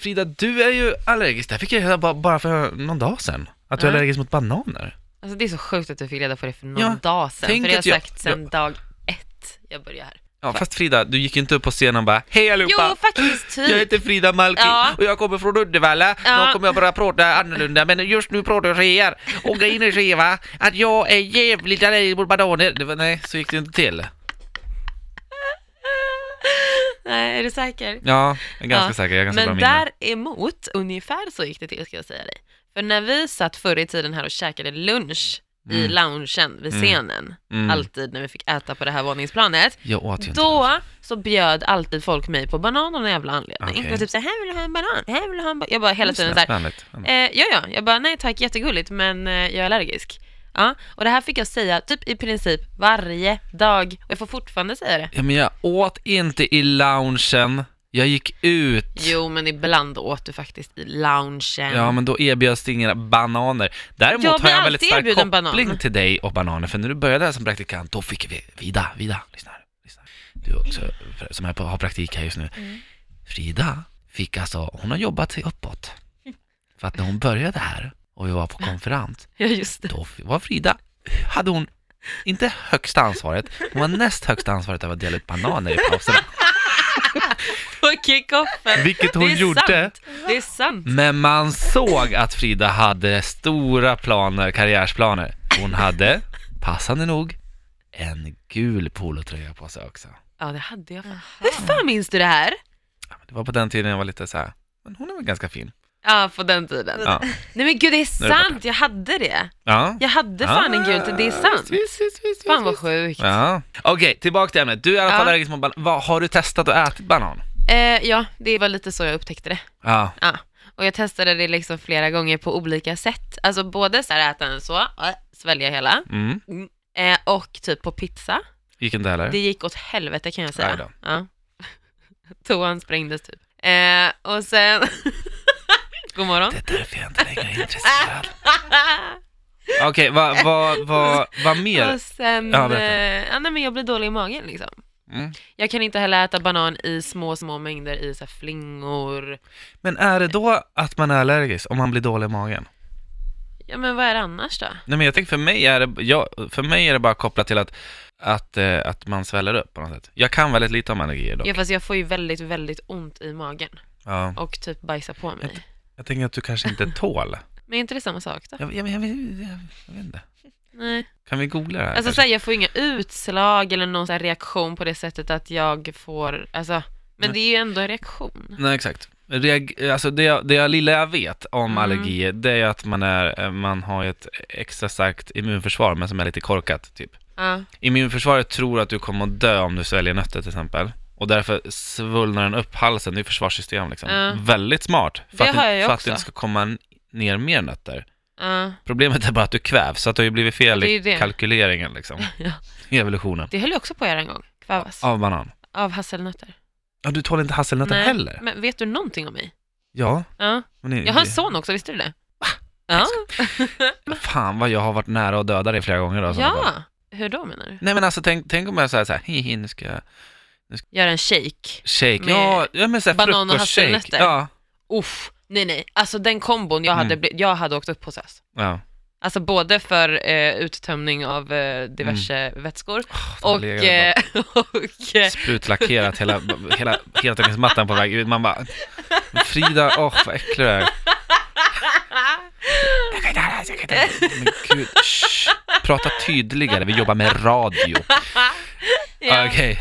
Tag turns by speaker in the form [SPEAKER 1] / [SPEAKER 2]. [SPEAKER 1] Frida, du är ju allergisk. Det här fick jag reda på bara för någon dag sedan. Att du är
[SPEAKER 2] Ja.
[SPEAKER 1] allergisk mot bananer.
[SPEAKER 2] Alltså det är så sjukt att du fick reda på det för någon
[SPEAKER 1] Ja,
[SPEAKER 2] dag sedan.
[SPEAKER 1] tänk
[SPEAKER 2] För det har
[SPEAKER 1] att
[SPEAKER 2] jag
[SPEAKER 1] jag-
[SPEAKER 2] sagt sedan dag ett jag började här.
[SPEAKER 1] Ja, fast Frida, du gick ju inte upp på scenen och bara Hej allihopa!
[SPEAKER 2] Jo, faktiskt
[SPEAKER 1] Jag
[SPEAKER 2] typ.
[SPEAKER 1] heter Frida Malki
[SPEAKER 2] Ja.
[SPEAKER 1] och jag kommer från Uddevalla.
[SPEAKER 2] Ja.
[SPEAKER 1] Nu kommer jag börja prata annorlunda men just nu pratar jag så här. Och grejen är så här, va, att jag är jävligt allergisk mot bananer. Det var, nej, så gick det inte till.
[SPEAKER 2] Nej, är du säker?
[SPEAKER 1] Ja, jag är ganska
[SPEAKER 2] Ja,
[SPEAKER 1] säker. Jag har ganska bra
[SPEAKER 2] Men
[SPEAKER 1] minne.
[SPEAKER 2] däremot, ungefär så gick det till ska jag säga dig. För när vi satt förr i tiden här och käkade lunch i
[SPEAKER 1] Mm.
[SPEAKER 2] loungen vid
[SPEAKER 1] Mm.
[SPEAKER 2] scenen,
[SPEAKER 1] Mm.
[SPEAKER 2] alltid när vi fick äta på det här våningsplanet,
[SPEAKER 1] Jag åt ju inte.
[SPEAKER 2] då så bjöd alltid folk mig på banan av någon jävla anledning.
[SPEAKER 1] Okej.
[SPEAKER 2] Och typ så här, här vill du ha en banan, här vill du ha en banan. Jag bara hela tiden så här,
[SPEAKER 1] Vänligt. Vänligt.
[SPEAKER 2] Eh, ja, ja, jag bara nej tack, jättegulligt men eh, jag är allergisk. Ja, och det här fick jag säga typ i princip varje dag och jag får fortfarande säga det.
[SPEAKER 1] Ja, men jag åt inte i loungen. Jag gick ut.
[SPEAKER 2] Jo, men ibland åt du faktiskt i loungen.
[SPEAKER 1] Ja, men då erbjöds det inga bananer. Däremot
[SPEAKER 2] Jag
[SPEAKER 1] har
[SPEAKER 2] blir
[SPEAKER 1] jag en väldigt
[SPEAKER 2] alltid
[SPEAKER 1] stark koppling
[SPEAKER 2] erbjuden banan.
[SPEAKER 1] till dig och bananer, för när du började här som praktikant, då fick vi, Vida, Vida, lyssna här, lyssna här. Du också, som är på, har praktik här just nu.
[SPEAKER 2] Mm.
[SPEAKER 1] Frida fick alltså, hon har jobbat sig uppåt. För att när hon började här och vi var på konferens,
[SPEAKER 2] Ja, just det.
[SPEAKER 1] då f- var Frida, hade hon inte högsta ansvaret, hon var näst högsta ansvaret över att dela ut bananer i pauserna.
[SPEAKER 2] På kickoffen.
[SPEAKER 1] Vilket hon
[SPEAKER 2] det är
[SPEAKER 1] gjorde.
[SPEAKER 2] Sant. Det är sant.
[SPEAKER 1] Men man såg att Frida hade stora planer, karriärsplaner. Hon hade, passande nog, en gul polotröja på sig också.
[SPEAKER 2] Ja, det hade jag. fan. Hur fan minns du det här?
[SPEAKER 1] Ja, men Det var på den tiden jag var lite så här. men hon är väl ganska fin.
[SPEAKER 2] Ja, på den tiden.
[SPEAKER 1] Ja,
[SPEAKER 2] Nej men gud, det är
[SPEAKER 1] Nu är det borta. Ah.
[SPEAKER 2] sant. Jag hade det.
[SPEAKER 1] ja.
[SPEAKER 2] Jag hade fan en gul till, det är sant.
[SPEAKER 1] Visst, visst, visst, visst,
[SPEAKER 2] Fan vad
[SPEAKER 1] visst.
[SPEAKER 2] sjukt.
[SPEAKER 1] Ja. Okej, tillbaka till ämnet. Du är i alla fall
[SPEAKER 2] Ja.
[SPEAKER 1] allergisk mot banan. Vad, har du testat att ätit banan?
[SPEAKER 2] Eh, ja, det var lite så jag upptäckte det.
[SPEAKER 1] Ja.
[SPEAKER 2] Ja, och jag testade det liksom flera gånger på olika sätt. Alltså både så här äta den så, äh, svälja hela,
[SPEAKER 1] Mm.
[SPEAKER 2] eh, och typ på pizza.
[SPEAKER 1] Gick inte heller?
[SPEAKER 2] Det gick åt helvete kan jag
[SPEAKER 1] Aj
[SPEAKER 2] säga.
[SPEAKER 1] då.
[SPEAKER 2] Ja. Toan sprängdes typ. Eh, och sen... God morgon.
[SPEAKER 1] Det är därför jag inte längre är intresserad. Okej, vad, vad, vad, vad mer?
[SPEAKER 2] och sen...
[SPEAKER 1] Ja, berätta.
[SPEAKER 2] eh, ja, nej, men jag blir dålig i magen liksom.
[SPEAKER 1] Mm.
[SPEAKER 2] Jag kan inte heller äta banan i små, små mängder i så här flingor.
[SPEAKER 1] Men är det då att man är allergisk om man blir dålig i magen?
[SPEAKER 2] Ja, men vad är det annars då?
[SPEAKER 1] Nej men jag tänker för mig är det, jag, för mig är det bara kopplat till att, att, eh, att man sväller upp på något sätt. Jag kan väldigt lite om allergier dock.
[SPEAKER 2] Ja, fast jag får ju väldigt, väldigt ont i magen
[SPEAKER 1] Ja.
[SPEAKER 2] och typ bajsar på mig.
[SPEAKER 1] Jag tänker att du kanske inte tål.
[SPEAKER 2] Men är inte det samma sak då?
[SPEAKER 1] Jag, jag, jag, jag, jag, jag vet inte.
[SPEAKER 2] Nej.
[SPEAKER 1] Kan vi googla det här?
[SPEAKER 2] Alltså
[SPEAKER 1] kanske?
[SPEAKER 2] såhär, jag får inga utslag eller någon så här reaktion på det sättet att jag får, alltså, men
[SPEAKER 1] Nej.
[SPEAKER 2] det är ju ändå en reaktion.
[SPEAKER 1] Nej exakt. Reag, alltså det, jag- det jag lilla jag vet om
[SPEAKER 2] Mm.
[SPEAKER 1] allergier, det är att man, är, eh, man har ett extra starkt immunförsvar, men som är lite korkat typ.
[SPEAKER 2] Ja,
[SPEAKER 1] Immunförsvaret tror att du kommer att dö om du sväljer nötter till exempel. Och därför svullnar den upp halsen, det är försvarssystem liksom.
[SPEAKER 2] Ja.
[SPEAKER 1] Väldigt smart. För,
[SPEAKER 2] Det
[SPEAKER 1] att,
[SPEAKER 2] har
[SPEAKER 1] det-
[SPEAKER 2] jag ju
[SPEAKER 1] för att
[SPEAKER 2] också.
[SPEAKER 1] det inte ska komma n- ner mer nötter.
[SPEAKER 2] ja.
[SPEAKER 1] Problemet är bara att du kvävs, så att det har ju blivit fel
[SPEAKER 2] Det är ju
[SPEAKER 1] i
[SPEAKER 2] det.
[SPEAKER 1] kalkyleringen liksom.
[SPEAKER 2] Ja.
[SPEAKER 1] I evolutionen.
[SPEAKER 2] Det höll jag också på att göra en gång, kvävas,
[SPEAKER 1] Av banan.
[SPEAKER 2] av hasselnötter.
[SPEAKER 1] Ja, du tål inte hasselnötter
[SPEAKER 2] Nej,
[SPEAKER 1] heller?
[SPEAKER 2] Men vet du någonting om mig?
[SPEAKER 1] Ja.
[SPEAKER 2] Ja.
[SPEAKER 1] Men det,
[SPEAKER 2] Jag har en son också, visste du det? Ja,
[SPEAKER 1] Fan vad jag har varit nära att döda dig flera gånger då. i sådana fall.
[SPEAKER 2] ja. Hur då menar du?
[SPEAKER 1] Nej men alltså tänk, tänk om jag säger så här, hihi nu ska jag
[SPEAKER 2] Göra en shake.
[SPEAKER 1] shake.
[SPEAKER 2] Med
[SPEAKER 1] ja, ja men såhär
[SPEAKER 2] banan och
[SPEAKER 1] frukostshake.
[SPEAKER 2] hasselnötter.
[SPEAKER 1] Ja.
[SPEAKER 2] Uff, nej nej, alltså den kombon jag hade,
[SPEAKER 1] Mm.
[SPEAKER 2] bli- jag hade åkt upp hos oss.
[SPEAKER 1] ja.
[SPEAKER 2] Alltså både för eh, uttömning av eh, diverse vätskor
[SPEAKER 1] det har
[SPEAKER 2] och,
[SPEAKER 1] Mm. legat där.
[SPEAKER 2] eh, och eh,
[SPEAKER 1] sprutlackerat hela, hela, hela tennismattan på väg ut. Man bara, Frida, åh vad äcklig du är. Jag kan inte höra, jag kan inte höra. Men gud, shh. Prata tydligare, vi jobbar med radio.
[SPEAKER 2] ja.
[SPEAKER 1] Okej.